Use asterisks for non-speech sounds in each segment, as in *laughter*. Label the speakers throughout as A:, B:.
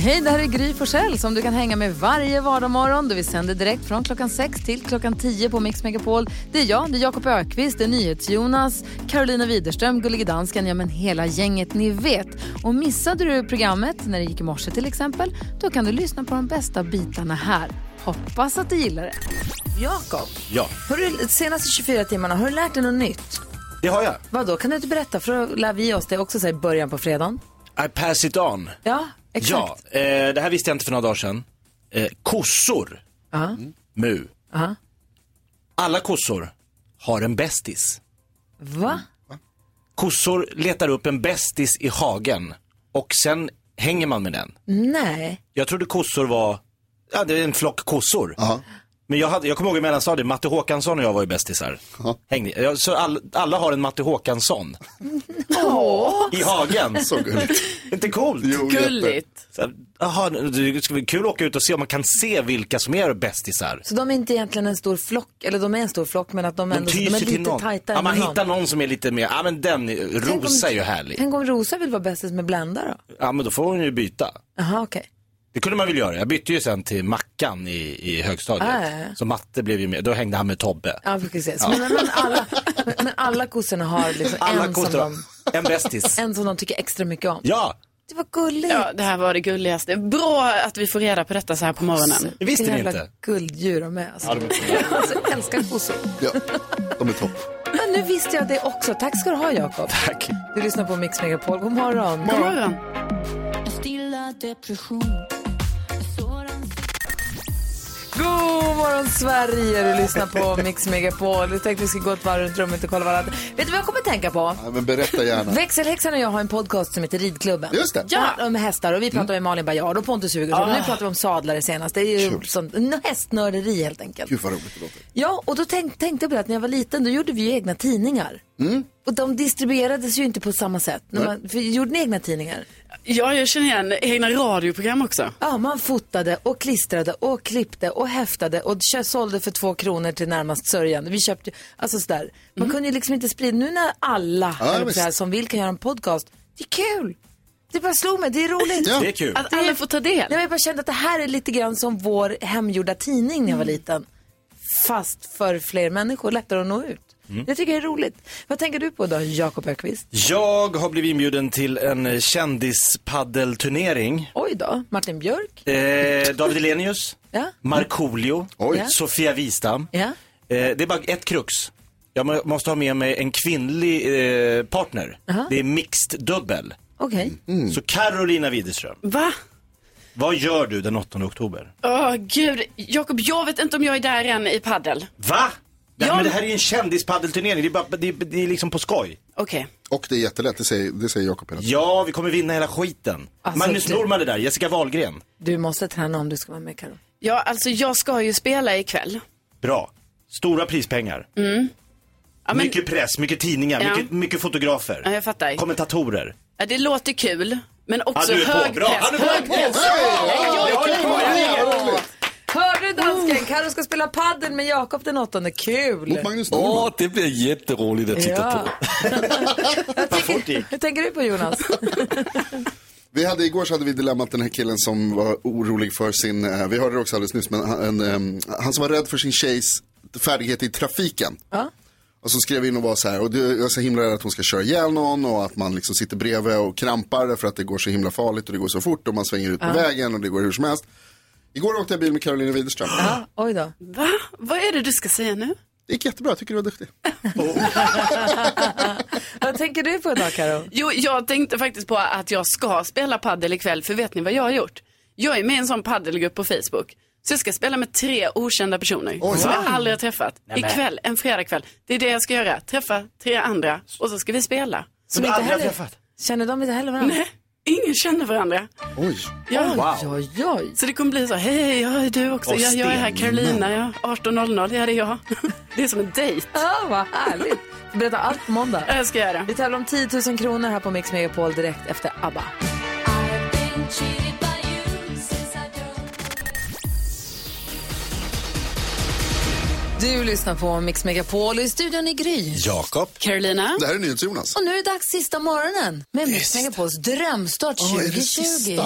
A: Hej, det här är Gry Forssell som du kan hänga med varje vardagsmorgon. Vi sänder direkt från klockan 6 till klockan 10 på Mix Megapol. Det är jag, det är Jakob Ökvist, det är NyhetsJonas, Carolina Widerström, Gullige Dansken, ja men hela gänget ni vet. Och missade du programmet när det gick i morse till exempel, då kan du lyssna på de bästa bitarna här. Hoppas att du gillar det.
B: Jakob,
C: Ja,
B: har du senaste 24 timmarna, har du lärt dig något nytt?
C: det har jag.
B: Vad då? kan du inte berätta? För då lär vi oss det också så här, i början på fredagen.
C: I pass it on.
B: Ja, exakt.
C: Ja, eh, det här visste jag inte för några dagar sedan. Eh, kossor,
B: Ja.
C: mu.
B: Ja.
C: Alla kossor har en bästis.
B: Va?
C: Kossor letar upp en bästis i hagen och sen hänger man med den.
B: Nej.
C: Jag trodde kossor var, ja det är en flock kossor. Men jag, hade, jag kommer ihåg i mellanstadiet, Matte Håkansson och jag var ju bästisar. Hängde, ja, så all, alla har en Matte Håkansson. I hagen.
D: Så gulligt.
C: *laughs* Inte coolt?
D: Jo, jätte.
C: Så här, Jaha, det ska bli kul att åka ut och se om man kan se vilka som är bästisar.
B: Så de är inte egentligen en stor flock, eller de är en stor flock men att de,
C: De
B: ändå de
C: tyr
B: är
C: sig till
B: lite
C: någon.
B: tajtare
C: Ja, man
B: än
C: hittar någon som är lite mer, ja men den,
B: Tänk om-
C: Rosa är ju härlig.
B: Tänk om Rosa vill vara bästis med Blenda då?
C: Ja men då får hon ju byta.
B: Jaha, okej.
C: Det kunde man väl göra. Jag bytte ju sen till Mackan i, i högstadiet.
B: Ah, ja, ja.
C: Så Matte blev ju med, då hängde han med Tobbe.
B: Ja, vi får se. Så, men, men, alla, men alla
C: *laughs*
B: kossorna har liksom
C: Alla
B: en, som
C: kossor har
B: de,
C: en bästis.
B: *laughs* en som de tycker extra mycket om.
C: Ja,
B: Det var gulligt.
E: Ja, det här var det gulligaste. Bra att vi får reda på detta så här på morgonen.
C: det visste ni
B: Vilka
C: inte.
B: gulddjur de är. Alltså. *laughs* alltså, jag älskar kossor.
D: Ja, de är topp.
B: Men nu visste jag det också. Tack ska du ha, Jakob.
C: Tack.
B: Du lyssnar på Mix Megapol. God morgon.
E: God morgon.
B: God morgon, Sverige. Du lyssnar på Mix Megapol. Jag tänkte vi skulle gå ett varv runt rummet och kolla varandra. Vet du vad jag kommer att tänka på?
D: Ja, men berätta gärna.
B: Växelhäxan och jag har en podcast som heter Ridklubben.
D: Just det.
B: Ja. Om hästar och vi pratar med Malin Baryard och Pontus Hugosson. Nu pratar vi om sadlare senast. Det är ju
D: Kul.
B: sånt, n- hästnörderi helt enkelt.
D: Gud vad roligt det låter.
B: Ja, och då tänk, tänkte jag på det att när jag var liten då gjorde vi ju egna tidningar.
D: Mm.
B: Och de distribuerades ju inte på samma sätt. När man, för, gjorde ni egna tidningar?
E: Ja, jag känner igen egna radioprogram också.
B: Ja, man fotade och klistrade och klippte och häftade och kö- sålde för två kronor till närmast sörjande. Vi köpte, alltså sådär. Man kunde ju liksom inte sprida, nu när alla
D: Ja,
B: eller
D: visst.
B: så här, som vill kan göra en podcast, det är kul. Det bara slog mig, det är roligt.
D: Ja.
C: Det är kul.
E: Att alla får ta
B: Nej, men
E: del.
B: jag bara kände att det här är lite grann som vår hemgjorda tidning när jag var liten. Fast för fler människor, lättare att nå ut. Det tycker jag är roligt. Vad tänker du på då, Jakob Ökvist?
C: Jag har blivit inbjuden till en eh, kändispaddelturnering.
B: Oj då, Martin Björk?
C: Eh, David Elenius,
B: Ja.
C: Markoolio,
D: Oj.
C: Sofia Wistam.
B: Ja.
C: Eh, det är bara ett krux. Jag må- måste ha med mig en kvinnlig eh, partner. Det är mixed dubbel.
B: Okej.
D: Mm.
C: Så Carolina Widerström,
E: Va?
C: vad gör du den 8 oktober?
E: Åh, gud. Jakob, jag vet inte om jag är där än i paddel.
C: Va? Nej,
E: Ja.
C: men det här är ju en kändispaddelturnering, det är, bara, det, är- det är liksom på skoj.
E: Okej.
D: Och det är jättelätt, det säger, det säger Jakob hela tiden.
C: Ja, vi kommer vinna hela skiten.
B: Alltså,
C: Magnus
B: det-
C: Norman är där, Jessica Wahlgren.
B: Du måste träna om du ska vara med, Karo.
E: Ja, alltså jag ska ju spela ikväll.
C: Bra. Stora prispengar.
E: Ja, men,
C: Mycket press, mycket tidningar,
E: Ja.
C: mycket, mycket fotografer.
E: ja, jag fattar.
C: Kommentatorer.
E: Ja, det låter kul, men
C: Ja,
E: också
C: du är på.
E: hög
C: Bra.
E: press.
C: Ja, du
E: hög
C: är
E: press.
C: på. Bra.
B: Hörde du dansken? Karo ska spela padel med Jakob den åttonde. Kul!
D: Mot Magnus Norman.
F: det blir jätteroligt att
B: Ja. *laughs* jag
C: fort det gick.
B: tänker, hur tänker du på Jonas?
D: Vi hade igår så hade vi dilemmat den här killen som var orolig för sin, eh, vi hörde det också alldeles nyss, men han, en, em, han som var rädd för sin tjejs färdighet i trafiken. Och så skrev in och var så här, och det, jag är så himla rädd att hon ska köra ihjäl någon och att man liksom sitter bredvid och krampar för att det går så himla farligt och det går så fort och man svänger ut på vägen och det går hur som helst. Igår åkte jag bil med Carolina Widerström.
B: Ja, Oj då.
E: Va? Vad är det du ska säga nu?
D: Det gick jättebra, jag tycker du var duktig.
B: Vad tänker du på idag, Karo?
E: Jo, jag tänkte faktiskt på att jag ska spela paddel ikväll, för vet ni vad jag har gjort? Jag är med i en sån paddelgrupp på Facebook. Så jag ska spela med tre okända personer som jag aldrig har träffat. Ikväll, en fredagkväll. Det är det jag ska göra. Träffa tre andra och så ska vi spela.
C: Som
B: inte heller- Känner de inte heller varandra?
E: Nej, ingen känner varandra.
D: Oj,
E: Ja.
C: Wow.
B: Oj, oj.
E: Så det kommer bli så, hej, hej, ja, är du också?
C: Och
E: Ja, jag är här,
C: Sten.
E: *laughs* Carolina, ja, 18.00, ja det är jag. Det är som en dejt.
B: Ja, vad härligt. Berätta allt på måndag.
E: Jag ska göra.
B: Vi tävlar om 10 000 kronor här på Mix Megapol direkt efter ABBA. Du lyssnar på Mix Megapol och i studion i Gry.
D: Jakob.
E: Carolina.
D: Det här är NyhetsJonas.
B: Och nu är det dags sista morgonen med Mix Megapols drömstart 2020.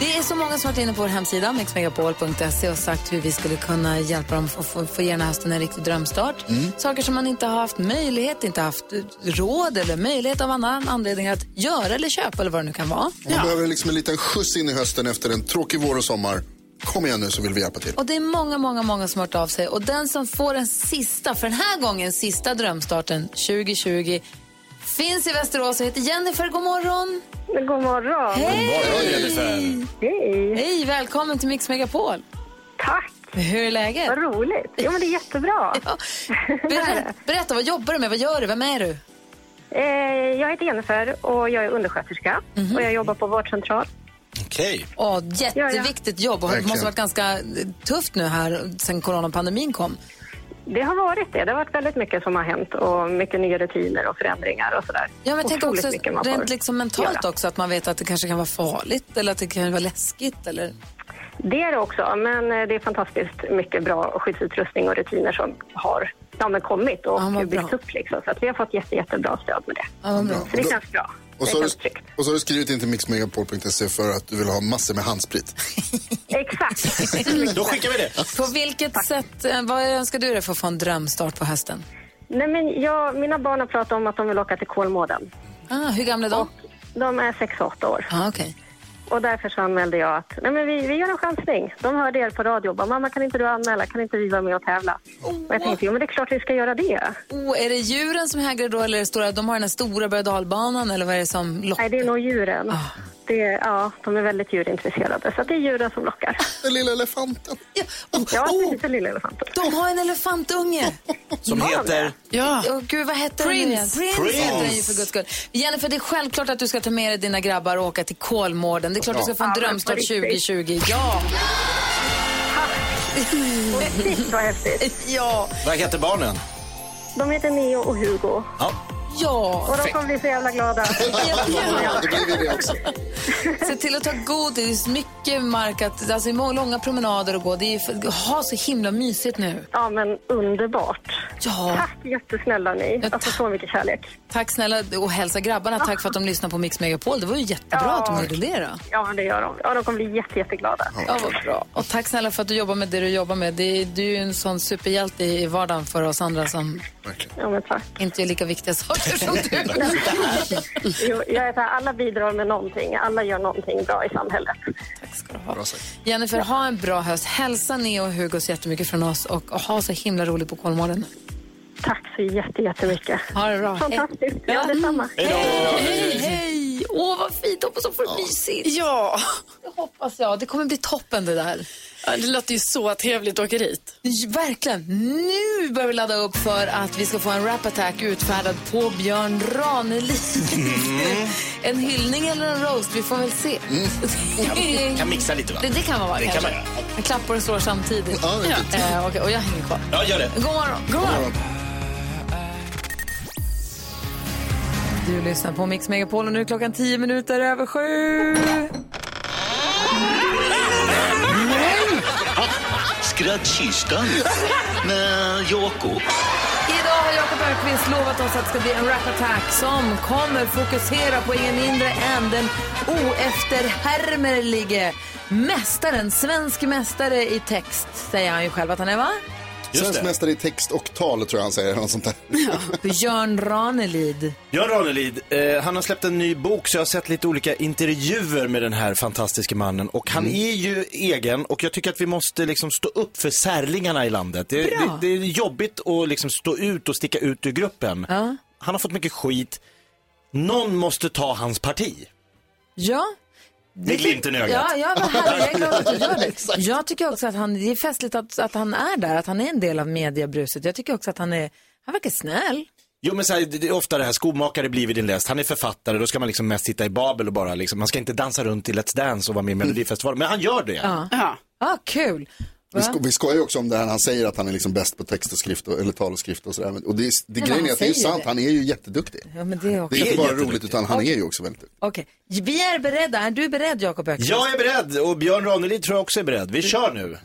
B: Det är så många som varit inne på vår hemsida mixmegapol.se och sagt hur vi skulle kunna hjälpa dem att få, få ge den här hösten en riktig drömstart. Saker som man inte har haft möjlighet, inte haft eh, råd eller möjlighet av annan anledning att göra eller köpa eller vad det nu kan vara.
D: Man behöver liksom en liten skjuts in i hösten efter en tråkig vår och sommar. Kom igen nu så vill vi hjälpa till.
B: Och det är många, många, många som har hört av sig. Och den som får den sista, för den här gången, sista drömstarten 2020 finns i Västerås och heter Jennifer. God morgon!
F: God morgon.
C: Morgon Jennifer.
F: Hej.
B: Hej, välkommen till Mix Megapol.
F: Tack.
B: Hur är läget?
F: Vad roligt. Jo, men det är jättebra.
B: Ja. Berätta, berätta, vad jobbar du med? Vad gör du? Vem är du?
F: *laughs* Eh, jag heter Jennifer och jag är undersköterska
B: Mhm.
F: och jag jobbar på vårdcentral.
C: Okej.
B: Åh, jätteviktigt jobb och det måste
D: Verkligen.
B: ha varit ganska eh, tufft nu här sen coronapandemin kom.
F: Det har varit det. Det har varit väldigt mycket som har hänt och mycket nya rutiner och förändringar och sådär.
B: Ja, men jag tänker
F: Otroligt
B: också
F: mycket man får
B: rent liksom mentalt
F: göra.
B: också att man vet att det kanske kan vara farligt eller att det kan vara läskigt eller...
F: Det är det också, men eh, det är fantastiskt mycket bra skyddsutrustning och rutiner som har ja, men kommit och
B: Ja, vad
F: byggts
B: bra.
F: upp. Liksom. Så att vi har fått jätte, jättebra stöd med det.
B: Ja, vad bra.
F: Så det känns bra.
D: Och
F: det
D: så, har
F: känns
D: du,
F: tryggt.
D: och så har du skrivit in till mixmegapol.se för att du vill ha massor med
B: *laughs*
D: handsprit.
F: Exakt.
C: Då skickar vi det.
B: På vilket sätt, eh, vad önskar du dig för att få en drömstart på hösten?
F: Nej, men jag, mina barn har pratat om att de vill åka till Kolmården.
B: Ah, hur gamla är de?
F: De är 6 och 8 år.
B: Ah, okej.
F: Och därför så anmälde jag att nej men vi, vi gör en chansning. De hörde er på radio och bara, mamma kan inte du anmäla, kan inte vi vara med och tävla? Och jag tänkte, jo men det är klart vi ska göra det.
B: oh, är det djuren som hägrar då eller är det stora, de har den här stora berg och dalbanan eller vad är det som lockar?
F: Nej, det är nog djuren.
B: Ah.
F: Det, ja, de är väldigt djurintresserade, så att det är djuren som lockar.
D: Den lilla elefanten.
B: Ja, oh,
F: Jag har
B: oh,
F: inte lilla elefanten.
B: de har en elefantunge!
C: Som heter...
E: Ja.
B: Åh gud, vad hette den nu igen? Ah. Prince! heter den ju för guds skull. Jennifer, det är självklart att du ska ta med dig dina grabbar och åka till Kolmården. Det är klart du ska få en
F: Ja, men på
B: drömstart
F: riktigt.
B: 2020.
F: *laughs*
B: Ja!
F: Shit, vad häftigt.
B: Ja!
C: Vad heter barnen?
F: De heter Neo och Hugo.
C: Ja.
B: Ja!
F: Och de kommer bli så jävla glada.
D: Då blir vi det också.
B: Se till att ta godis, mycket mark, att, alltså må- långa promenader och gå. Det är ju för, ha så himla mysigt nu.
F: Ja, men underbart.
B: Ja!
F: Tack jättesnälla ni.
B: Ja,
F: Alltså
B: tack.
F: så mycket kärlek.
B: Tack snälla och hälsa grabbarna tack för att de lyssnar på Mix Megapol. Det var ju jättebra
F: Ja.
B: att de gjorde det då.
F: Ja, men det gör de. Ja, de kommer bli jätte, jätteglada.
B: Ja, vad bra. Och tack snälla för att du jobbar med det du jobbar med. Det är, du är ju en sån superhjälte i vardagen för oss andra som
D: Verkligen.
F: Ja, men tack.
B: inte är lika viktiga *laughs* saker som du.
F: Jo, jag är så här, alla bidrar med någonting. Alla gör någonting bra i samhället.
B: Tack ska du ha.
D: Bra sagt.
B: Jennifer, ha en bra höst. Hälsa Neo och Hugo så jättemycket från oss och ha så himla roligt på Kolmården.
F: Tack så jätte, jättemycket.
B: Ha det bra. Hej.
F: Fantastiskt. Ja, detsamma.
B: Hej, hej! Åh, vad fint. Hoppas hon får mysigt.
E: Ja.
B: Det hoppas jag. Det kommer bli toppen det där.
E: Ja, Det låter ju så trevligt att åka dit.
B: Verkligen. Nu börjar vi ladda upp för att vi ska få en rap-attack utfärdad på Björn Ranelid. en hyllning eller en roast, vi får väl se.
C: Kan mixa lite va?
B: det, det kan man vara
C: Det kan
B: kanske.
C: man göra.
B: En klappar och slår samtidigt.
D: Ja, det är fint.
B: Eh, okej, och jag hänger kvar.
C: Ja, gör det.
B: God morgon. Du lyssnar på Mix Megapol och nu är klockan 10 minuter över sju.
G: Skrattkistan *laughs* med Jakob.
B: Idag har Jakob Ökvist lovat oss att det ska bli en rap-attack som kommer fokusera på ingen mindre än den oefterhärmelige mästaren, svensk mästare i text, säger han ju själv att han *laughs* är, va?
C: Just
D: Svensk
C: det.
D: mästare i text och tal tror jag han säger. Något sånt där.
B: Björn Ranelid.
C: Björn Ranelid, eh, han har släppt en ny bok så jag har sett lite olika intervjuer med den här fantastiska mannen. Och han
B: Mm.
C: är ju egen och jag tycker att vi måste liksom stå upp för särlingarna i landet. Det, det,
B: Bra.
C: det är jobbigt att liksom stå ut och sticka ut ur gruppen.
B: Ja.
C: Han har fått mycket skit. Någon måste ta hans parti.
B: Ja.
C: Med glimten i ögat.
B: Ja, ja, vad härligt. Jag är glad att du gör det. Jag tycker också att han, det är festligt att, att han är där, att han är en del av mediebruset. Jag tycker också att han är, han verkar snäll.
C: Jo men så här, det det är ofta det här, skomakare blir vid din läst, han är författare, då ska man liksom mest sitta i Babel och bara liksom, man ska inte dansa runt i Let's Dance och vara
B: *laughs*
C: med i Melodifestivalen, men han gör det.
B: Ja.
E: Ja.
B: Ah, kul.
D: *laughs* Vi, sko- vi skojar ju också om det här när han säger att han är liksom bäst på text och skrift och, eller tal och skrift och sådär. Men- Och det, är- det
B: Men
D: grejen
B: han
D: är att det är ju
B: säger
D: sant,
B: det.
D: han är ju jätteduktig.
B: Ja, men det är också...
D: Det är inte bara roligt
C: jätteduktig.
D: utan han är ju också väldigt duktig.
B: Okej, vi är beredda. Är du beredd, Jakob Öqvist?
C: Jag är beredd och Björn Ranelid tror jag också är beredd. Vi kör nu.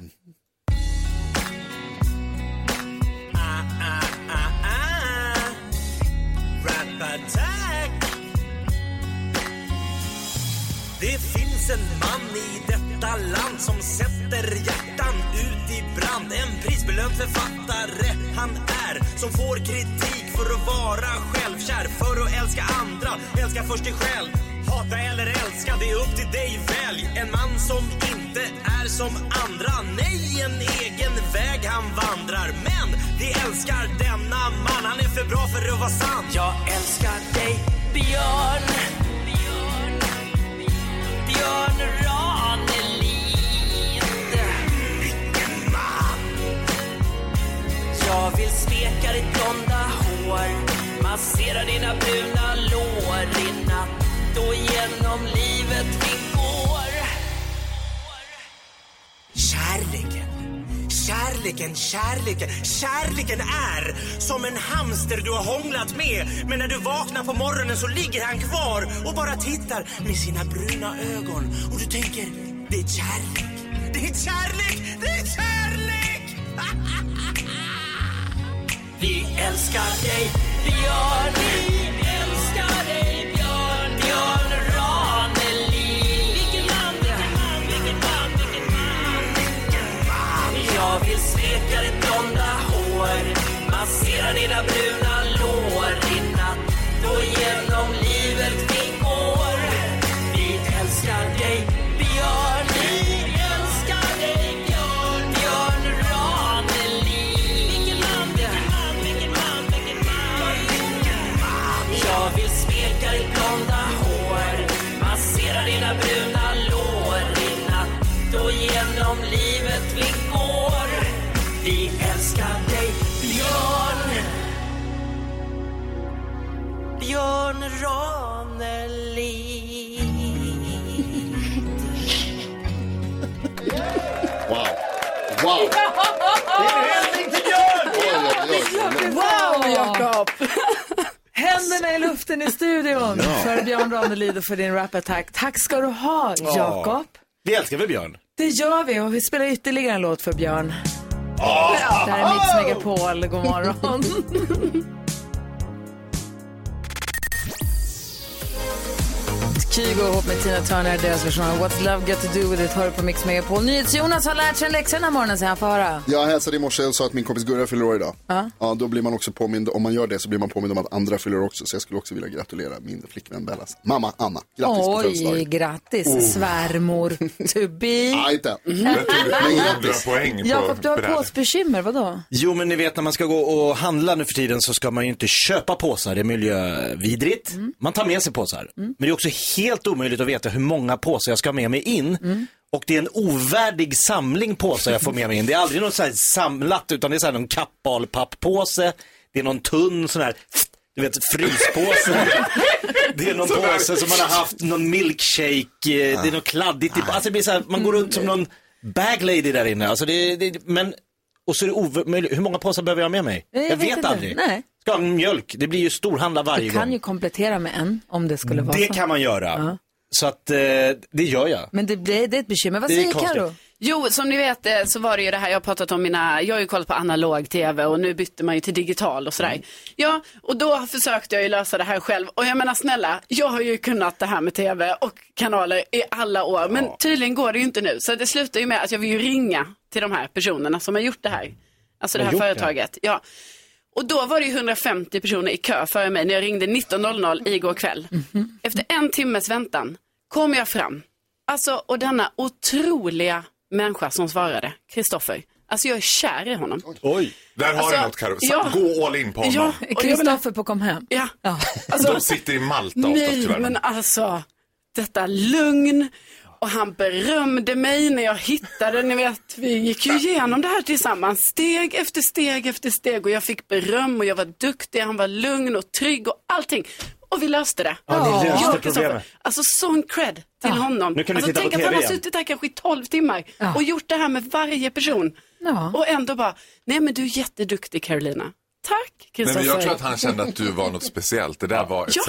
H: Det finns en man i detta land som sätter hjärtan ut i brand. En prisbelönt författare han är som får kritik för att vara självkär, för att älska andra, älska först dig själv. Hata eller älska, det är upp till dig, välj. En man som inte är som andra, nej, en egen väg han vandrar. Men vi älskar denna man, han är för bra för att vara sann. Jag älskar dig, Björn. Björn Ranelid. Vilken man! Jag vill smeka ditt blonda hår, massera dina bruna lår i natt och genom livet vi går. Kärleken, kärleken, kärleken, kärleken är som en hamster du har hånglat med. Men när du vaknar på morgonen så ligger han kvar och bara tittar med sina bruna ögon. Och du tänker, det är kärlek, det är kärlek, det är kärlek! *laughs* Vi älskar dig, Björn. Vi älskar dig, Björn. Björn Ranelid. Vilken man, vilken man, vilken man, vilken man. Jag vill smeka ditt blonda hår, massera dina bruna lår i natt och genom livet vi går. Vi älskar dig, Björn. Vi älskar dig, Björn. Björn Ranelid. Vilken man, vilken man, vilken man, vilken man. Jag vill smeka ditt blonda hår, massera dina bruna lår i natt och genom livet vi går. Vi älskar dig, Björn. Björn Ranelid.
B: *laughs*
D: Wow! Wow!
B: Wow, Jakob! Händerna i luften i studion för Björn Ranelid och för din rap-attack. Tack ska du ha, Jakob.
C: Vi älskar väl Björn?
B: Det gör vi och vi spelar ytterligare en låt för Björn. Det här är Mix Megapol. God morgon. Kygo ihop med Tina Turner, deras version av What's Love Got To Do With It hör du på Mix Megapol. NyhetsJonas har lärt sig en läxa den här morgonen, så han får höra.
D: Jag hälsade i morse och sa att min kompis Gurra fyller år idag.
B: Ja.
D: Ja, då blir man också påmind, om man gör det så blir man påmind om att andra fyller år också. Så jag skulle också vilja gratulera min flickvän Bellas mamma Anna. Grattis på
B: Oj,
D: födelsedagen.
B: grattis svärmor to be.
D: Nej, inte.
I: Mm.
B: Jakob, du har påsbekymmer, vadå?
C: Jo men ni vet när man ska gå och handla nu för tiden så ska man ju inte köpa påsar, det är miljövidrigt. Man tar med sig påsar. Men det är också helt omöjligt att veta hur många påsar jag ska ha med mig in. Och det är en ovärdig samling påsar jag får med mig in. Det är aldrig något så här samlat utan det är så här någon kappalpapppåse, det är någon tunn sån här, du vet *laughs* fryspåse. Det är någon påse som man har haft, någon milkshake, eh, det är något kladdigt. i- Alltså det blir så här, man går runt som någon bag lady där inne. Alltså det, det, men, och så är det omöjligt, hur många påsar behöver jag ha med mig?
B: Nej,
C: Jag,
B: jag vet
C: vet,
B: inte.
C: aldrig.
B: Nej.
C: Ska jag ha mjölk? Det blir ju storhandla varje
B: Du kan
C: gång.
B: ju komplettera med en om det skulle vara
C: Det
B: så.
C: kan man göra. Så att eh, det gör jag.
B: Men det, blir, det är ett bekymmer. Vad
C: Det är
B: säger
C: konstigt.
B: Karo?
E: Jo, som ni vet eh, så var det ju det här jag har pratat om mina, jag har ju kollat på analog tv och nu bytte man ju till digital och sådär.
C: Mm.
E: Ja, och då försökte jag ju lösa det här själv och jag menar snälla, jag har ju kunnat det här med tv och kanaler i alla år men tydligen går det ju inte nu så det slutar ju med att jag vill ju ringa till de här personerna som har gjort det här. Alltså det
C: Har
E: här
C: gjort det?
E: företaget. Ja. Och då var det ju 150 personer i kö före mig när jag ringde 19.00 igår kväll.
C: Mhm.
E: Efter en timmes väntan kom jag fram. Alltså, och denna otroliga människa som svarade, Kristoffer. Alltså jag är kär i honom.
C: Oj.
I: Där har du
E: Alltså,
I: något Karo.
E: ja.
I: Gå all in på honom.
E: Ja, och jag menar,
B: Kristoffer på kom hem.
E: ja.
B: Ja.
E: Alltså,
I: De sitter i Malta ofta
E: nej,
I: tyvärr.
E: men alltså detta lugn Och han berömde mig när jag hittade, ni vet, vi gick ju igenom det här tillsammans, steg efter steg efter steg och jag fick beröm och jag var duktig, han var lugn och trygg och allting. Och vi löste det.
C: Ja, ni löste
E: Jag och Kristoffer.
C: problemet.
E: Alltså sån cred till honom.
C: Nu kan vi
E: alltså,
C: titta på
E: tänk att han
C: TV
E: har
C: igen.
E: suttit där kanske i 12 timmar
B: Ja.
E: och gjort det här med varje person.
B: Ja.
E: Och ändå bara, nej men du är jätteduktig Carolina. Tack
I: Nej,
E: Kristoffer.
I: men jag tror att han kände att du var något speciellt. Det där var,
E: Ja.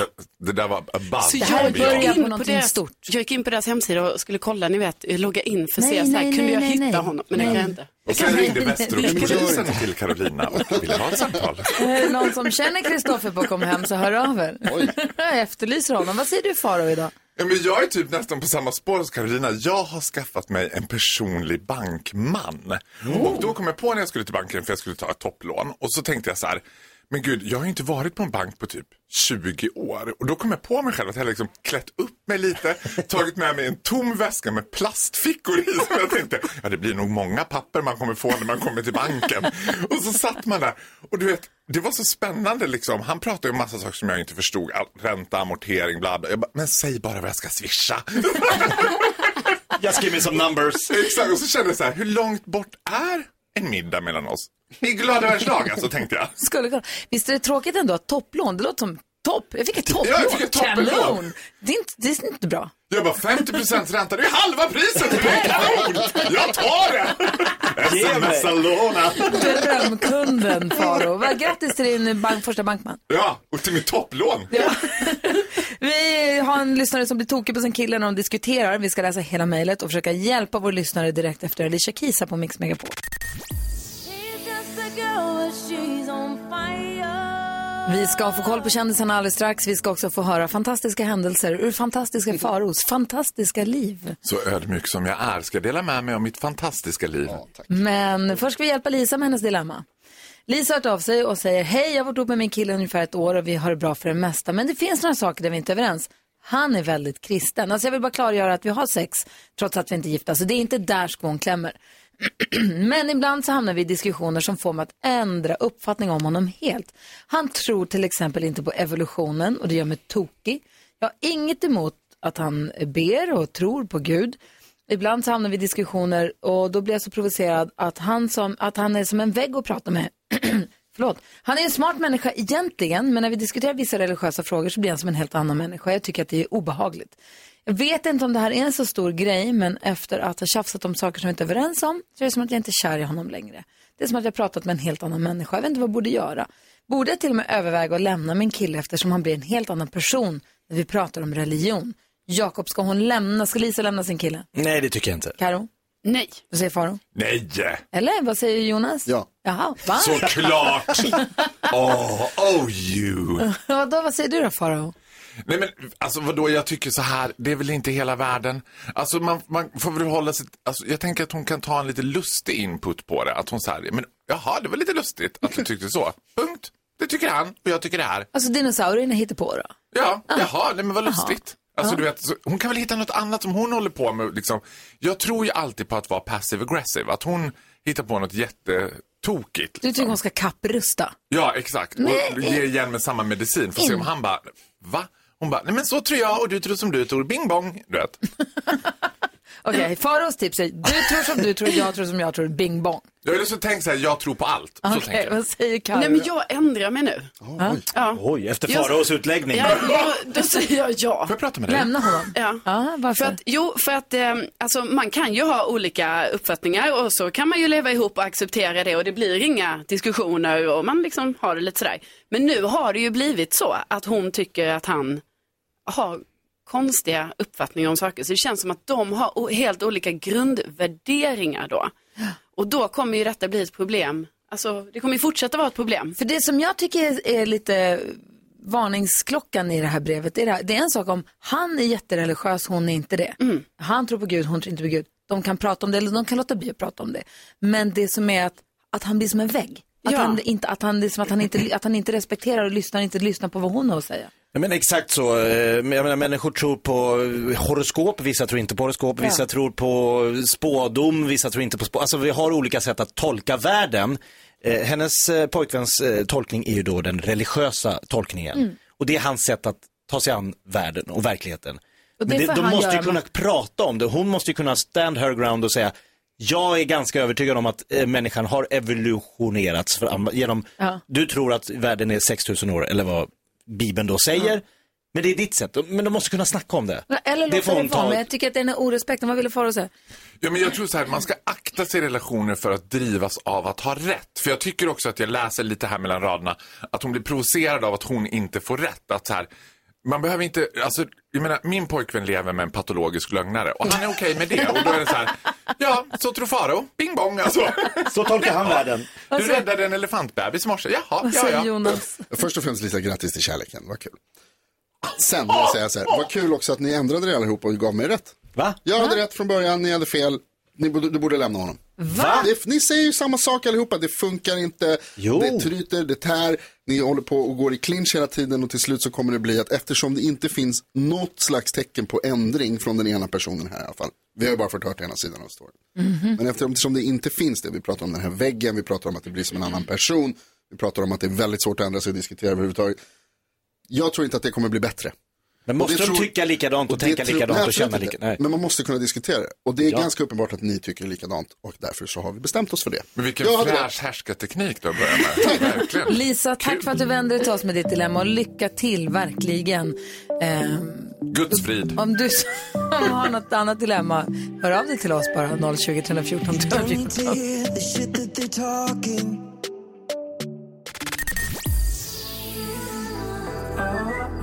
I: det där var above.
E: Så
I: and
E: jag
I: beyond.
E: gick, in på
B: någonting
E: deras, jag gick in på deras hemsida och skulle kolla, ni vet, logga in för att
B: Nej,
E: se, så här,
B: nej,
E: kunde jag
B: nej,
E: hitta
B: nej.
E: honom? Men det
B: Nej.
E: kan jag inte.
I: Och sen ringde Västeråspolisen till Carolina och ville ha ett samtal.
B: Är det Eh, någon som känner Kristoffer på Kom hem så hör av er. *laughs* Jag efterlyser honom. Vad säger du Faro idag?
I: Ja, men jag är typ nästan på samma spår som Carolina. Jag har skaffat mig en personlig bankman. Och då kom jag på när jag skulle till banken för jag skulle ta ett topplån. Och så tänkte jag så här, men gud, jag har ju inte varit på en bank på typ 20 år. Och då kom jag på mig själv att jag liksom klätt upp mig lite, tagit med mig en tom väska med plastfickor i. Som jag tänkte, ja det blir nog många papper man kommer få när man kommer till banken. Och så satt man där och du vet, det var så spännande liksom. Han pratade ju om massa saker som jag inte förstod. All- Ränta, amortering, bla bla. Jag bara, men säg bara vad jag ska swisha.
C: Just give me some numbers.
I: Exakt, och så kände jag så här, hur långt bort är en middag mellan oss? I glada världsdagar, så tänkte jag.
B: Skulle kunna. Visst är det tråkigt ändå att topplån, det låter som topp. Jag fick ett topplån.
I: Ja, jag fick ett toppenlån.
B: Kanon. Det är inte, det är inte bra.
I: Jag bara, 50 ränta, det är halva priset! Det är kanon! Jag tar det! Smsa låna.
B: Drömkunden Faro. Vad- Grattis till din bank, första bankman.
I: Ja, och till mitt topplån.
B: Vi har en lyssnare som blir tokig på sin kille när de diskuterar. Vi ska läsa hela mejlet och försöka hjälpa vår lyssnare direkt efter Alicia Keys här på Mix Megapol. Vi ska få koll på kändisarna alldeles strax. Vi ska också få höra fantastiska händelser ur fantastiska Faros fantastiska liv.
I: Så ödmjuk som jag är ska jag dela med mig av mitt fantastiska liv.
B: Men först ska vi hjälpa Lisa med hennes dilemma. Lisa har hört av sig och säger, hej jag har varit ihop med min kille ungefär ett år och vi har det bra för det mesta. Men det finns några saker där vi inte är överens. Han är väldigt kristen. Alltså jag vill bara klargöra att vi har sex trots att vi inte är gifta. Så det är inte där skon klämmer. Men ibland så hamnar vi i diskussioner som får mig att ändra uppfattning om honom helt. Han tror till exempel inte på evolutionen och det gör mig tokig. Jag har inget emot att han ber och tror på Gud. Ibland så hamnar vi i diskussioner och då blir jag så provocerad att han, som, att han är som en vägg att prata med. *clears throat* Förlåt. Han är en smart människa egentligen, men när vi diskuterar vissa religiösa frågor så blir han som en helt annan människa. Jag tycker att det är obehagligt. Jag vet inte om det här är en så stor grej, men efter att ha tjafsat om saker som vi inte är överens om så är det som att jag inte är kär i honom längre. Det är som att jag har pratat med en helt annan människa. Jag vet inte vad jag borde göra. Borde jag till och med överväga att lämna min kille eftersom han blir en helt annan person när vi pratar om religion? Jakob, ska hon lämna? Ska Lisa lämna sin kille?
C: Nej, det tycker jag inte.
B: Karo?
E: Nej.
B: Vad säger Faro?
I: Nej!
B: Eller vad säger Jonas?
J: Ja.
B: Jaha, va? *laughs*
I: Såklart! Oh, oh you!
B: Vadå, vad säger du då Faro?
I: Nej men alltså vadå, jag tycker så här, det är väl inte hela världen. Alltså man, man får väl hålla sig, alltså, jag tänker att hon kan ta en lite lustig input på det. Att hon så här, men jaha det var lite lustigt att du tyckte *laughs* så. Punkt. Det tycker han och jag tycker det här.
B: Alltså dinosaurierna hittar på då? Ah.
I: Ja, jaha, nej men vad lustigt. Alltså du vet, så, hon kan väl hitta något annat som hon håller på med liksom. Jag tror ju alltid på att vara passive aggressive, att hon hittar på något jättetokigt.
B: Du tycker hon ska kapprusta?
I: Ja, exakt. Och
B: Nej.
I: ge igen med samma medicin. För att se om
B: In.
I: han bara, va? Hon bara, nej men så tror jag och du tror som du tror. Bing bong, du vet.
B: Okej, Faros tips är du tror som du tror, jag tror som jag tror, bing bong.
I: Jag har liksom tänkt så här, jag tror på allt. Så tänker jag.
B: säger Karo?
E: Nej, men jag ändrar mig nu.
I: oj.
E: Ja.
C: Oj, efter
E: Jag-
C: Faraos utläggning.
E: Ja, då, då säger jag ja. Får
I: jag prata med
C: dig?
B: Lämna honom?
E: Ja.
B: varför?
E: För att, jo, för att eh, alltså, man kan ju ha olika uppfattningar och så kan man ju leva ihop och acceptera det och det blir inga diskussioner och man liksom har det lite sådär. Men nu har det ju blivit så att hon tycker att han har konstiga uppfattningar om saker. Så det känns som att de har o- helt olika grundvärderingar då. Och då kommer ju detta bli ett problem. Alltså, det kommer ju fortsätta vara ett problem.
B: För det som jag tycker är lite varningsklockan i det här brevet, det är, det här, det är en sak om han är jättereligiös, hon är inte det. Han tror på Gud, hon tror inte på Gud. De kan prata om det eller de kan låta bli att prata om det. Men det som är att, att han blir som en vägg. Att,
E: Ja.
B: han, inte, att, han, det är som att, han inte, att han inte respekterar och lyssnar, inte lyssnar på vad hon har att säga.
C: Jag menar exakt så. Eh, men Jag menar, människor tror på eh, horoskop, vissa tror inte på horoskop,
B: Ja.
C: vissa tror på spådom, vissa tror inte på spådom. Alltså vi har olika sätt att tolka världen. Eh, hennes eh, pojkväns eh, tolkning är ju då den religiösa tolkningen.
K: Mm.
C: Och det är hans sätt att ta sig an världen och verkligheten.
A: Och det får
C: Men det, de
A: han
C: måste ju
A: göra,
C: kunna
A: men-
C: prata om det. Hon måste ju kunna stand her ground och säga, jag är ganska övertygad om att eh, människan har evolutionerats fram genom,
A: Ja.
C: du tror att världen är 6000 år, eller vad Bibeln då säger. Men det är ditt sätt, men de måste kunna snacka om det.
B: Eller
C: det
B: låta det vara, men jag tycker att det är en orespekt. Vad ville Farao säga?
I: Ja, men jag tror så här, man ska akta sig i relationer för att drivas av att ha rätt. För jag tycker också att jag läser lite här mellan raderna att hon blir provocerad av att hon inte får rätt. Att så här, man behöver inte, alltså, jag menar, min pojkvän lever med en patologisk lögnare och han är okej med det. Och då är det så här, ja, så tror Faro, bing bong alltså.
C: *laughs* Så tolkar han världen.
I: Du räddade en elefantbebis i morse, jaha,
A: Vad
I: ja,
A: säger
I: ja.
A: Jonas?
D: Först och främst lite grattis till kärleken, vad kul. Sen vill jag säga så här, vad kul också att ni ändrade er allihop och gav mig rätt.
C: Va?
D: Jag hade rätt från början, ni hade fel. Ni borde, du borde lämna honom.
A: Va?
D: Det, ni säger ju samma sak allihopa, det funkar inte, det tryter, det tär, ni håller på och går i clinch hela tiden och till slut så kommer det bli att eftersom det inte finns något slags tecken på ändring från den ena personen här i alla fall, vi har ju bara fått hört ena sidan av storyn.
C: Mhm.
D: Men eftersom, eftersom det inte finns det, vi pratar om den här väggen, vi pratar om att det blir som en annan person, vi pratar om att det är väldigt svårt att ändra sig och diskutera överhuvudtaget. Jag tror inte att det kommer bli bättre.
C: Men
D: Och
C: måste
D: det
C: de
D: tror-
C: tycka likadant och,
D: det
C: tänka
D: tror-
C: likadant
D: Nej,
C: och
D: absolut
C: känna
D: inte.
C: likadant?
D: Men man måste kunna diskutera det. Och det är
C: Ja.
D: ganska uppenbart att ni tycker likadant och därför så har vi bestämt oss för det.
I: Men vilken
D: Jag hade
I: fräsch härskarteknik du har
D: *laughs*
I: börjat med. Verkligen.
B: Lisa, tack för att du vände dig till oss med ditt dilemma och lycka till verkligen. Ehm,
I: Guds frid.
B: om du som har något annat dilemma, hör av dig till oss bara 020 314 314.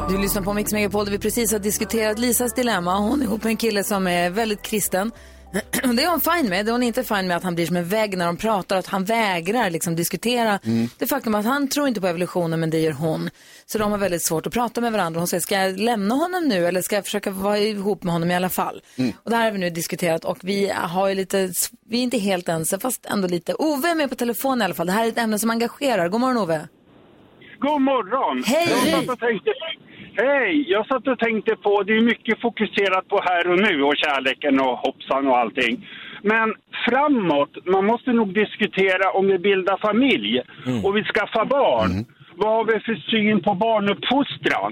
B: Du lyssnar på Mix Megapol där vi precis har diskuterat Lisas dilemma. Hon är ihop med en kille som är väldigt kristen. *clears throat* Det är hon fine med. Det hon inte är fine med att han blir som en vägg när de pratar. Att han vägrar liksom diskutera
A: Mm.
B: det faktum att han tror inte på evolutionen men det gör hon. Så de har väldigt svårt att prata med varandra. Hon säger, ska jag lämna honom nu eller ska jag försöka vara ihop med honom i alla fall? Och det här har vi nu diskuterat och vi har ju lite, vi är inte helt ense fast ändå lite. Ove är med på telefon i alla fall. Det här är ett ämne som engagerar. God morgon Ove.
L: God morgon!
B: Hej!
L: Jag satt och tänkte, hej! Jag satt och tänkte på, det är mycket fokuserat på här och nu och kärleken och hoppsan och allting. Men framåt, man måste nog diskutera om vi bildar familj och vi skaffar barn. Vad har vi för syn på barnuppfostran?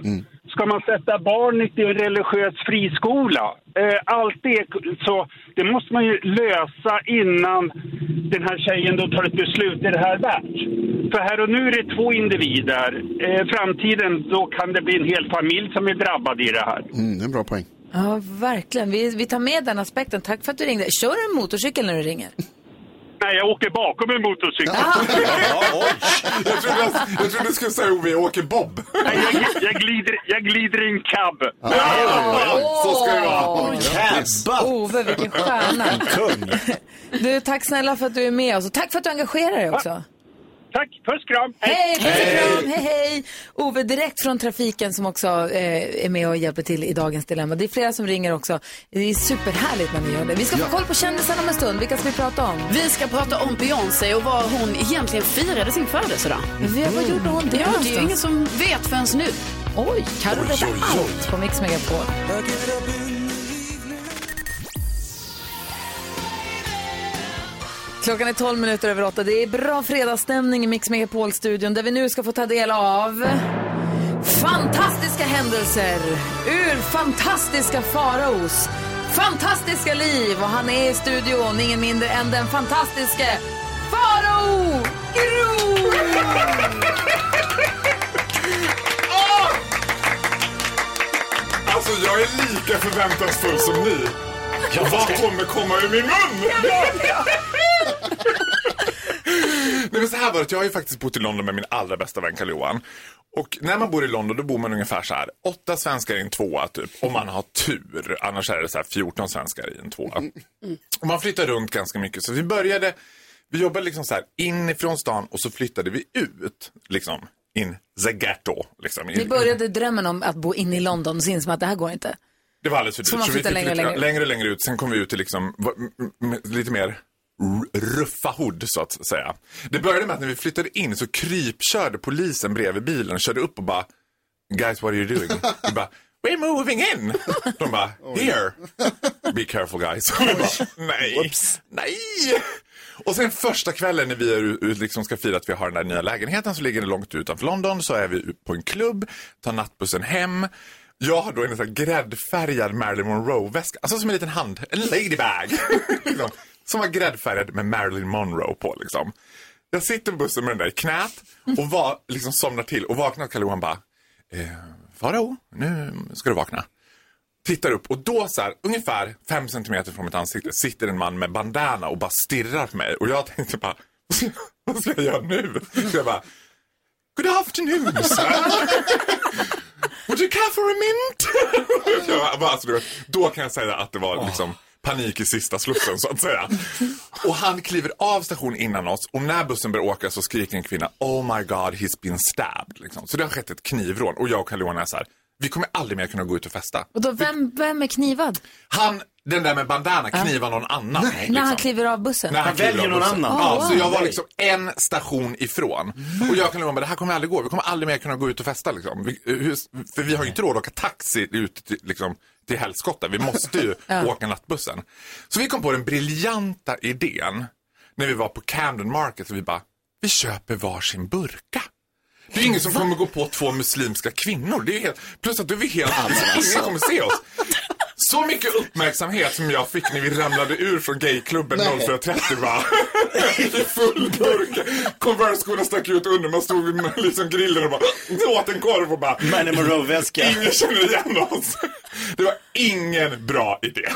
L: Ska man sätta barnet i en religiös friskola? Eh, allt det, så det måste man ju lösa innan den här tjejen då tar ett beslut. Är det här värt? För här och nu är det två individer. Eh, framtiden, då kan det bli en hel familj som är drabbad i det här.
D: Mm, det är en bra poäng.
B: Ja, verkligen. Vi, vi tar med den aspekten. Tack för att du ringde. Kör du en motorcykel när du ringer?
L: Nej, jag åker bakom en motorcykel.
I: *laughs* Jag trodde, jag, jag trodde du skulle säga Ove, jag åker Bob.
L: Nej, jag, gl- jag, glider, jag glider i en cab.
I: Så ska det
B: Åh,
I: vara.
B: *laughs* Ove, vilken stjärna. Du, tack snälla för att du är med oss och tack för att du engagerar dig också.
L: Tack, puss kram.
B: Hej, puss och
L: Hej.
B: kram, hej, hej. Ove, direkt från trafiken som också eh, är med och hjälper till i dagens dilemma. Det är flera som ringer också. Det är superhärligt när ni gör det. Vi ska få koll på kändisarna om en stund. Vilka ska vi prata om?
E: Vi ska prata om Beyoncé och var hon egentligen firade sin födelsedag.
B: Mm. Vad gjorde hon det
E: Ja, det är ju
B: någonstans?
E: ingen som vet förrän nu.
B: Oj, Carro vet allt på Mix Megapol. Klockan är 12 minuter över åtta. Det är bra fredagsstämning i Mix Megapol-studion där vi nu ska få ta del av fantastiska händelser ur fantastiska faraos fantastiska liv. Och han är i studion, ingen mindre än den fantastiske Farao Groth!
I: Alltså jag är lika förväntansfull som ni. Vad kommer komma ur min mun? Nej men så här var det, jag har ju faktiskt bott i London med min allra bästa vän karl johan Och när man bor i London då bor man ungefär så här, åtta svenskar i en tvåa typ. Om man har tur, annars är det så här 14 svenskar i en tvåa. Och man flyttar runt ganska mycket. Så vi började, vi jobbade liksom så här inifrån stan och så flyttade vi ut. Liksom, in the ghetto. Liksom,
B: Ni
I: in,
B: började drömmen om att bo inne i London och så insåg man att det här går inte.
I: Det var alldeles för
B: Så
I: dyrt.
B: man
I: Så vi
B: flyttar
I: fick
B: längre och
I: längre, längre.
B: längre.
I: längre och längre ut. Sen kom vi ut till liksom, va- m- m- lite mer r- ruffa hood så att säga. Det började med att när vi flyttade in så krypkörde polisen bredvid bilen. Körde upp och bara Guys what are you doing? Vi bara We're moving in! De bara Here! Be careful guys. *laughs* Och vi bara, Nej! Nej! Och sen första kvällen när vi är, u- u- liksom ska fira att vi har den där nya lägenheten så ligger den långt utanför London. Så är vi på en klubb, tar nattbussen hem. Jag har då en sån här gräddfärgad Marilyn Monroe-väska. Alltså som en liten hand, en ladybag. *laughs* liksom, som var gräddfärgad med Marilyn Monroe på liksom. Jag sitter på bussen med den där i knät och var, liksom somnar till och vaknar Kalle Johan bara. Eh, Farao, nu ska du vakna. Tittar upp och då så här, ungefär fem centimeter från mitt ansikte sitter en man med bandana och bara stirrar på mig. Och jag tänkte bara, *laughs* vad ska, vad ska jag göra nu? Så jag bara, good afternoon sir. *laughs* Would you care for a mint? *laughs* jag bara, bara, alltså, du vet, då kan jag säga att det var liksom panik i sista slussen så att säga. Och han kliver av station innan oss och när bussen börjar åka så skriker en kvinna Oh my god he's been stabbed. Liksom. Så det har skett ett knivrån och jag och Carl-Johan är så här, vi kommer aldrig mer kunna gå ut och festa.
M: Och då, vem, vem är knivad?
I: Han, den där med bandana, knivar någon annan. liksom.
M: När han kliver av bussen?
I: När
B: *laughs*
I: han kliver av bussen. Ja,
M: Ah,
I: så jag
M: wow.
I: var liksom en station ifrån. Och jag kan lova mig, det här kommer aldrig gå. Vi kommer aldrig mer kunna gå ut och festa liksom. Vi, hur- för vi har ju inte råd att åka taxi ut till, liksom, till helskotta. Vi måste ju
H: Ja.
I: åka nattbussen. Så vi kom på den briljanta idén när vi var på Camden Market. Och vi bara, vi köper varsin burka. Det är ingen som kommer gå på två muslimska kvinnor. Det är helt, plus att du är vi helt Ingen kommer se oss. Så mycket uppmärksamhet som jag fick när vi ramlade ur från gayklubben
H: Nej.
I: 04.30 va? I full burk. Converse-skorna stack ut under. Man stod vid *laughs* liksom grillen och bara åt en korv och bara.
C: Marilyn Monroe-väska.
I: Ingen känner igen oss. Det var ingen bra idé.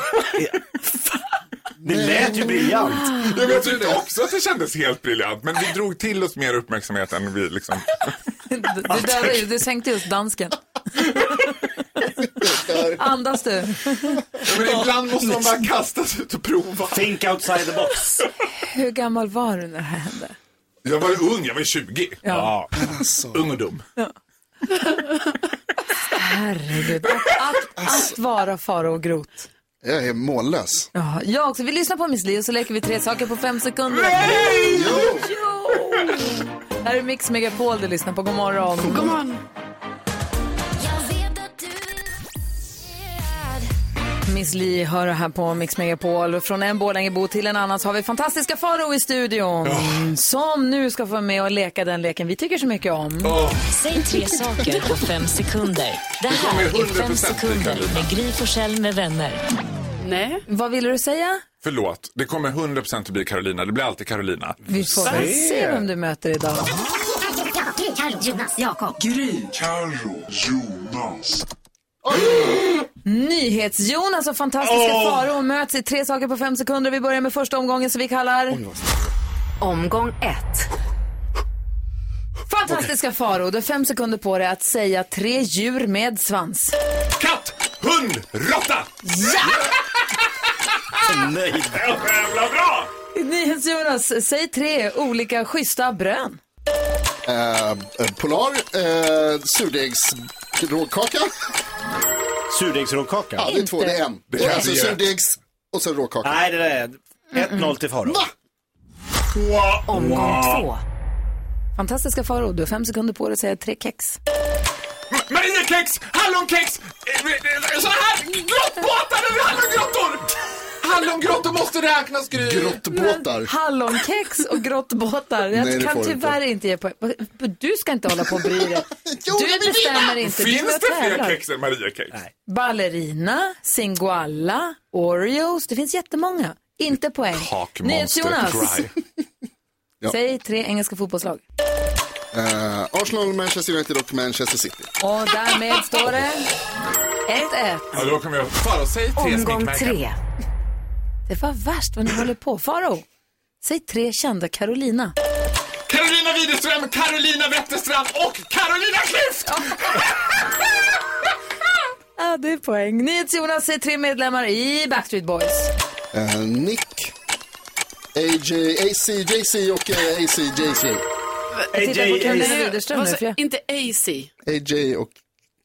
C: Det lät ju briljant.
I: Jag vet ju också att det kändes helt briljant. Men vi drog till oss mer uppmärksamhet än vi liksom.
B: Du, dödade ju- du sänkte
I: *laughs*
B: just dansken. Andas du?
I: Men ibland måste man bara kastas ut och prova.
C: Think outside the box.
B: Hur gammal var du när det här hände?
I: Jag var ju ung, jag var ju 20.
B: Ja.
I: Ung och dum.
B: Herregud, att, att, att vara fara och grot.
D: Jag är mållös.
B: Ja, jag också. Vi lyssnar på Miss Li och så leker vi tre saker på fem sekunder.
D: Nej!
B: Jo! Här är Mix Megapol du lyssnar på. God morgon. God morgon. Miss Li hör här på Mix Megapol. Och Från en Borlängebo till en annan så har vi fantastiska Faro i studion. Som nu ska få vara med och leka den leken vi tycker så mycket om.
N: Säg tre saker på fem sekunder. Det här är fem sekunder med Gry Forssell med vänner.
E: Nej.
B: Vad ville du säga?
I: Förlåt, det kommer 100% att bli Carolina. Det blir alltid Carolina.
B: Vi får väl se vem du möter idag.
H: Jonas, Jakob. Gry. Carro. Jonas.
B: Nyhets-Jonas och fantastiska
H: Åh!
B: Faro möts i tre saker på fem sekunder. Vi börjar med första omgången som vi kallar
O: Omgång ett.
B: Fantastiska Faro. Du har fem sekunder på dig att säga tre djur med svans.
I: Katt, hund, råtta!
B: Ja!
H: Så nöjd.
I: Jävla bra!
B: NyhetsJonas, säg tre olika schyssta brön.
D: Eh, eh, polar, eh, surdegsråkaka.
C: Surdegsråkaka?
D: Ja, det är två, det är en.
C: Det
D: Det är
C: kan
D: alltså
C: vi göra.
D: surdegs och sen råkaka.
C: Nej, det där är 1-0 till Farao.
B: Omgång
C: Wow.
B: två. Fantastiska Faro, du har fem sekunder på dig att säga tre kex.
I: Mariekex, hallonkex, eh, eh, så här grottbåtar eller hallongrottor! Hallongrottor måste räknas, Gry.
D: Grottbåtar.
B: Hallonkex och grottbåtar. Jag
D: Nej, det
B: kan
D: får du inte.
B: tyvärr inte ge poäng. Du ska inte hålla på och bry dig. Du bestämmer inte. Du
I: Finns
B: bara
I: det fler
B: tävlar.
I: kex än Mariekex?
B: Ballerina, Singoalla, Oreos. Det finns jättemånga. Inte poäng.
D: Kak, monster,
B: NyhetsJonas, *laughs*
D: fry. Ja.
B: säg tre engelska fotbollslag.
D: Eh, Arsenal, Manchester United och Manchester City.
B: Och därmed står det 1-1.
I: Ja, då kommer jag... Farao, säg tre sminkmärken.
B: Det var värst vad ni håller på. Faro, säg tre kända Carolina.
I: Carolina Widerström, Carolina Wetterstrand och Carolina Klüft!
B: *laughs* Ja, det är poäng. NyhetsJonas, säg tre medlemmar i Backstreet Boys.
D: Eh, Nick, AJ, ACJC och eh, ACJC.
B: Jag tittar på Carolina Widerström
E: Vad
B: nu.
E: sa-
B: För jag...
E: Inte AC.
D: AJ och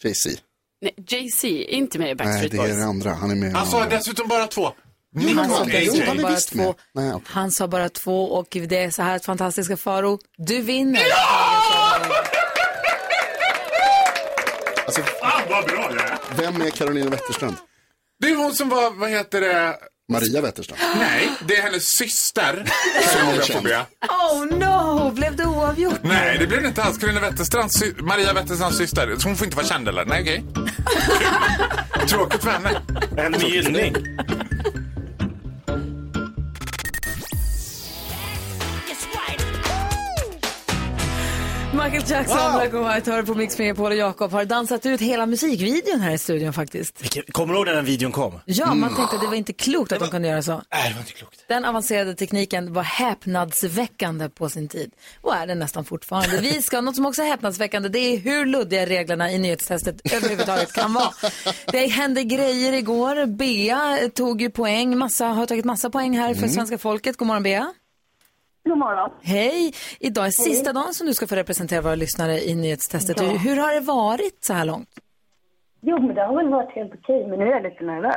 D: JC.
E: Nej, JC är inte med i
D: Nej,
E: Backstreet
D: det
E: Boys.
D: är det andra. Han är med i den
I: Han sa
D: andra.
I: dessutom bara två.
D: Jo, han sa
B: och AJ.
D: det. Han är
B: Bara
D: visst med.
B: två.
D: Nej,
B: Han sa bara två och det är så här att fantastiska Faro, du vinner.
D: Alltså,
I: Fan vad bra jag är.
D: Vem är Carolina Wetterstrand?
I: Det är hon som var, vad heter det?
D: Maria Wetterstrand.
I: Nej, det är hennes syster som har fobia.
B: Oh no! Blev det oavgjort?
I: Nej, det blir det inte alls. Carina Wetterstrands, sy- Maria Wetterstrands syster. Så hon får inte vara känd eller? Nej, okej. Tråkigt för henne.
C: En gynning.
B: Michael Jackson,
C: Wow!
B: Black and White, hör på Mix Megapol och Jakob har dansat ut hela musikvideon här i studion faktiskt.
C: Vilken- Kommer du ihåg när den videon kom?
B: Ja, man tänkte att det var inte klokt att de kunde göra så.
C: Mm. Nej, det var inte klokt.
B: Den avancerade tekniken var häpnadsväckande på sin tid och är det nästan fortfarande. Vi ska, något som också är häpnadsväckande, det är hur luddiga reglerna i nyhetstestet överhuvudtaget kan vara. Det hände grejer igår. Bea tog ju poäng, massa, har tagit massa poäng här för
P: Mm.
B: svenska folket. God morgon Bea.
Q: God morgon.
B: Hej! Idag är sista dagen som du ska få representera våra lyssnare i nyhetstestet.
Q: Ja.
B: Hur, hur har det varit så här långt?
Q: Jo, men det har väl varit helt okej, men nu är jag lite nervös.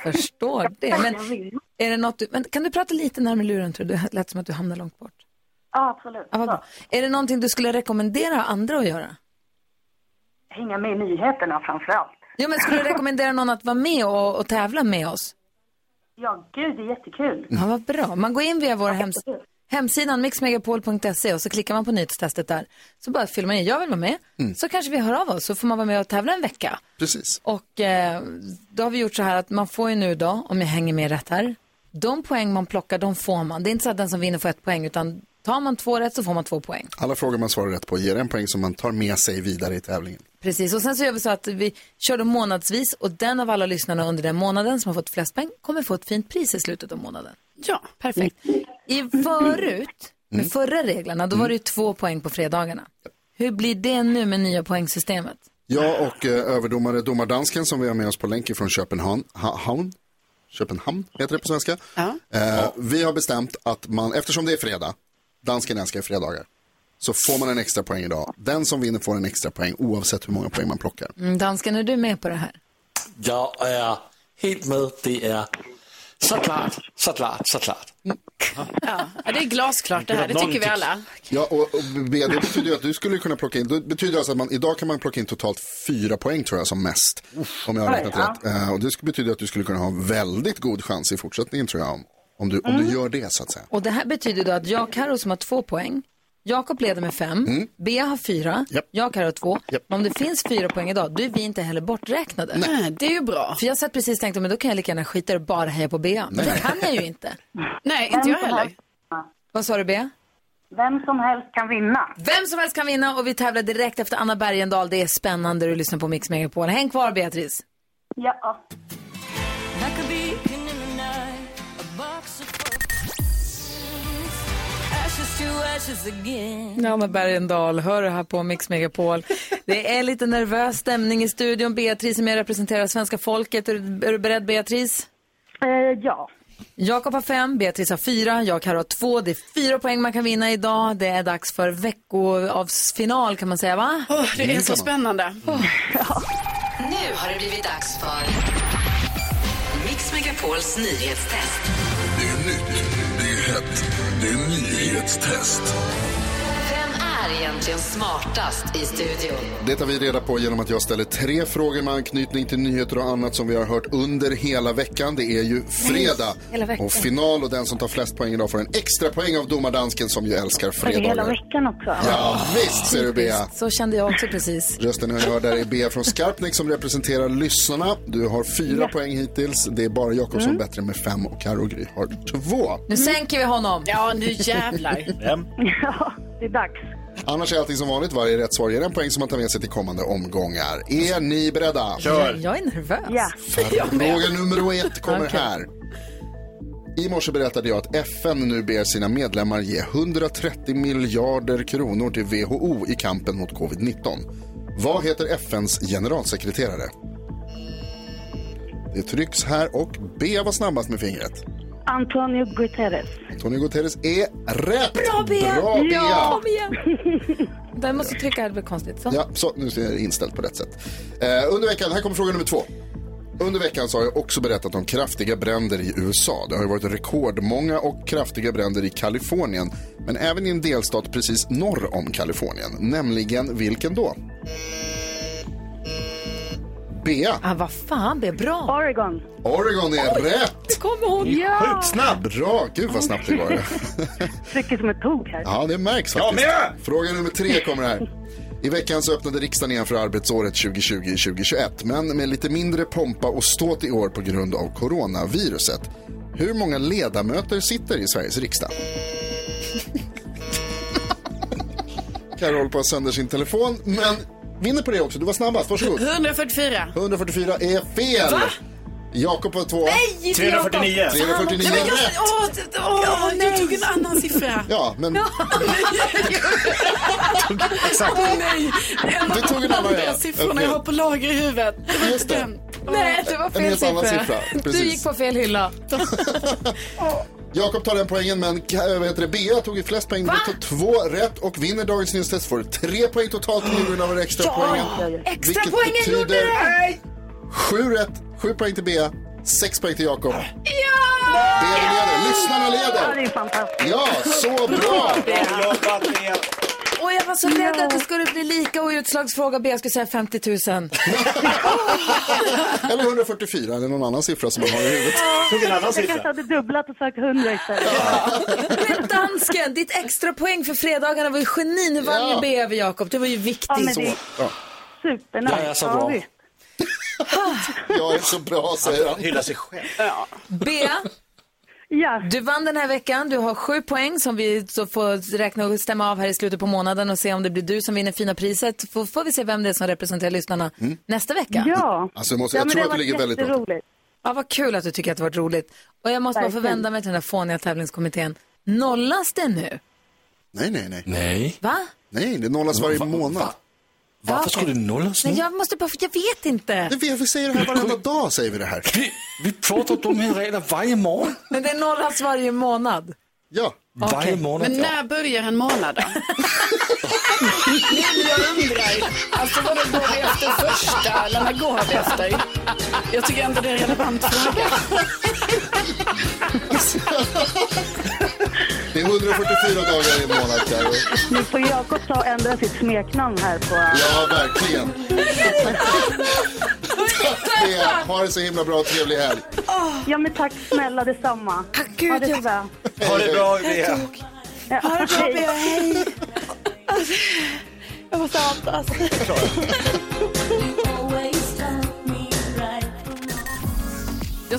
B: Jag förstår det. Men, är det något du, men kan du prata lite närmare luren? Tror du? Det lät som att du hamnade långt bort.
Q: Ja, absolut.
B: Ja, vad bra. Är det någonting du skulle rekommendera andra att göra?
Q: Hänga med i nyheterna framför allt.
B: Ja, men skulle du rekommendera någon att vara med och, och tävla med oss?
Q: Ja, gud, det är jättekul.
B: Ja, vad bra. Man går in via vår hems hemsidan mixmegapol.se och så klickar man på nyhetstestet där. Så bara fyller man i, jag vill vara med. Så kanske vi hör av oss så får man vara med och tävla en vecka.
D: Precis.
B: Och eh, då har vi gjort så här att man får ju nu då, om jag hänger med rätt här, de poäng man plockar, de får man. Det är inte så att den som vinner får ett poäng, utan tar man två rätt så får man två poäng.
D: Alla frågor man svarar rätt på ger en poäng som man tar med sig vidare i tävlingen.
B: Precis, och sen så gör vi så att vi kör dem månadsvis och den av alla lyssnarna under den månaden som har fått flest poäng kommer få ett fint pris i slutet av månaden.
E: Ja,
B: perfekt. I förut, med förra reglerna, då var det ju två poäng på fredagarna. Hur blir det nu med nya poängsystemet?
D: Jag och eh, överdomare domardansken som vi har med oss på länk från Köpenhamn, ha, Haun? Köpenhamn heter det på svenska. Eh, vi har bestämt att man, eftersom det är fredag, dansken älskar fredagar, så får man en extra poäng idag. Den som vinner får en extra poäng oavsett hur många poäng man plockar.
B: Mm, dansken, är du med på det här?
R: Jag är helt med. Det är såklart, såklart, såklart.
E: Ja, ja, det är glasklart det här. Det tycker vi alla.
D: Ja, och, och B, det betyder ju att du skulle kunna plocka in, det betyder alltså att man, idag kan man plocka in totalt fyra poäng tror jag som mest. Om jag har
Q: Oj,
D: räknat
Q: ja.
D: rätt. Eh, och det sk- betyder att du skulle kunna ha en väldigt god chans i fortsättningen tror jag. Om, om, du, om
Q: Mm.
D: du gör det så att säga.
B: Och det här betyder då att jag, Karo som har två poäng, Jakob leder med fem, Bea har fyra, jag Karo har två. Men om det finns fyra poäng idag, då är vi inte heller borträknade.
E: Nej, det är ju bra.
B: För jag satt precis och tänkte, men då kan jag lika gärna skita i det och bara heja på Bea. Men det kan jag ju inte.
E: Nej, inte jag heller.
B: Vad sa du Bea?
Q: Vem som helst kan vinna.
B: Vem som helst kan vinna och vi tävlar direkt efter Anna Bergendahl. Det är spännande att lyssna på Mix Megapol. Häng kvar Beatrice.
Q: Ja.
B: Anna Bergendahl, hör du här på Mix Megapol. Det är lite nervös stämning i studion. Beatrice är med och representerar svenska folket. Är du, är du beredd Beatrice?
Q: Eh, ja.
B: Jakob har fem, Beatrice har fyra, jag Karo har två. Det är fyra poäng man kan vinna idag. Det är dags för veckoavsfinal kan man säga va?
E: Åh, det är så spännande.
S: Nu har det blivit dags för Mix Megapols nyhetstest.
P: Det är nytt, det är hett, det är nyhetstest.
S: Vem är egentligen smartast i studion?
D: Det tar vi reda på genom att jag ställer tre frågor med anknytning till nyheter och annat som vi har hört under hela veckan. Det är ju fredag
Q: hela veckan.
D: och final och den som tar flest poäng idag får en extra poäng av domardansken som ju älskar
Q: För hela
D: fredagar.
Q: veckan också.
D: Ja, visst ser du Bea.
B: Så kände jag också precis.
D: Rösten ni hör där är Bea från Skarpnäck som representerar lyssnarna. Du har fyra poäng hittills. Det är bara Jakob som bättre med fem och Karo Gry har två.
B: Nu sänker vi honom.
E: Ja, nu jävlar.
Q: Ja, det är dags.
D: Annars är allting som vanligt. Varje rätt svar ger en poäng som man tar med sig till kommande omgångar. Är ni beredda?
B: Jag är nervös.
D: Fråga nummer ett kommer
B: Okej.
D: här. I morse berättade jag att FN nu ber sina medlemmar ge 130 miljarder kronor till WHO i kampen mot covid-19. Vad heter FNs generalsekreterare? Det trycks här och B var snabbast med fingret.
Q: Antonio Guterres.
D: Tony Guterres är rätt!
B: Bra Bea!
D: Bra, Bea.
B: Kom igen! Där måste jag trycka, det blir konstigt. Så.
D: Ja, så nu är det inställt på rätt sätt. Eh, under veckan, här kommer fråga nummer två. Under veckan så har jag också berättat om kraftiga bränder i USA. Det har ju varit rekordmånga och kraftiga bränder i Kalifornien, men även i en delstat precis norr om Kalifornien, nämligen vilken då? Bea.
B: Ah, vad fan, det är bra.
T: Oregon.
D: Oregon är rätt.
B: Det kommer hon.
D: Sjukt snabb. Bra. Gud vad snabbt det går.
T: *laughs* Trycker som ett tog här.
D: Ja, det märks faktiskt. Fråga nummer tre kommer här. I veckan så öppnade riksdagen igen för arbetsåret 2020-2021, men med lite mindre pompa och ståt i år på grund av coronaviruset. Hur många ledamöter sitter i Sveriges riksdag? *laughs* Carro håller på att sönder sin telefon, men vinner på det också. Du var snabbast, varsågod.
E: 144.
D: 144 är fel.
E: Va?
D: Jakob på två.
E: Nej, inte Jakob.
D: 349. 349
E: Nej,
D: är
E: men jag,
D: rätt.
E: åh, det- åh, jag tog en annan siffra.
D: Ja, men exakt.
E: Åh, nej. En
D: Du tog en
E: av
D: annan,
E: de
D: ja.
E: där siffrorna
D: Okej.
E: jag har på lager i huvudet. Det var inte den.
B: Nej, det var
D: En
B: fel
D: helt annan
B: siffra.
D: siffra,
B: Du
D: precis.
B: gick på fel hylla.
D: Jakob tar den poängen, men Ka- vad heter det? Bea tog ju flest poäng. Du tog två rätt och vinner dagens nyhetstest. Får tre poäng totalt i juryn av den extra poängen.
L: Extra
D: Vilket
L: poängen
D: betyder
L: gjorde det!
D: Sju rätt, sju poäng till Bea, sex poäng till Jakob.
L: Ja!
D: Bea leder, lyssnarna
L: Ja, det
D: leder.
L: är fantastiskt.
D: Ja, så bra!
B: Och jag var så rädd att det skulle bli lika och utslagsfråga B. Jag skulle säga 50 000.
D: Eller 144 eller någon annan siffra som man har i huvudet.
T: Jag kanske hade dubblat och sökt 100 istället.
B: Men dansken, ditt extra poäng för fredagarna var ju genin. Hur vann
T: Ja.
B: ju B över Jakob? Det var ju viktigt.
T: Ja, men det-
D: Ja.
T: Supernice.
D: Jag är så bra.
T: visst.
D: Jag är så bra, säger han.
U: Hylla sig själv.
B: Bea, du vann den här veckan. Du har sju poäng som vi så får räkna och stämma av här i slutet på månaden och se om det blir du som vinner fina priset. Får, får vi se vem det är som representerar lyssnarna
D: Mm.
B: nästa vecka.
T: Ja.
D: Alltså, jag måste- jag Ja, men tror det att har du ligger varit väldigt bra till.
B: Ja, vad kul att du tycker att det har varit roligt. Och jag måste bara få
T: Verkligen.
B: vända mig till den här fåniga tävlingskommittén. Nollas det nu?
D: Nej, nej, nej.
V: Nej.
B: Va?
D: Nej, det nollas varje månad.
B: Varför skulle
V: det nollas
C: Mm.
B: Nej, jag måste bara, jag vet inte.
D: Det vet vi säger det här varenda dag, säger vi det här.
V: Vi, vi pratar om de här reglerna varje morgon.
B: Men det nollas varje månad.
D: Ja.
V: Varje månad.
E: Men
V: ja.
E: när börjar en månad då? Det är det *laughs* jag undrar. Alltså vad det går vi efter första eller när går vi efter? Jag tycker ändå det är en relevant fråga.
D: Det är 144 dagar i en månad, Carro.
T: Nu får Jakob ta och ändra sitt smeknamn här på...
D: Ja, verkligen. Bea, ha det så himla bra och trevlig helg.
T: Ja, men tack snälla detsamma. Tack
B: gud.
T: Ha det så bra.
D: Ha det bra, Bea.
T: Ja,
L: Ha det bra,
T: hej.
L: Bea. Hej.
T: Jag måste andas.
B: Ja,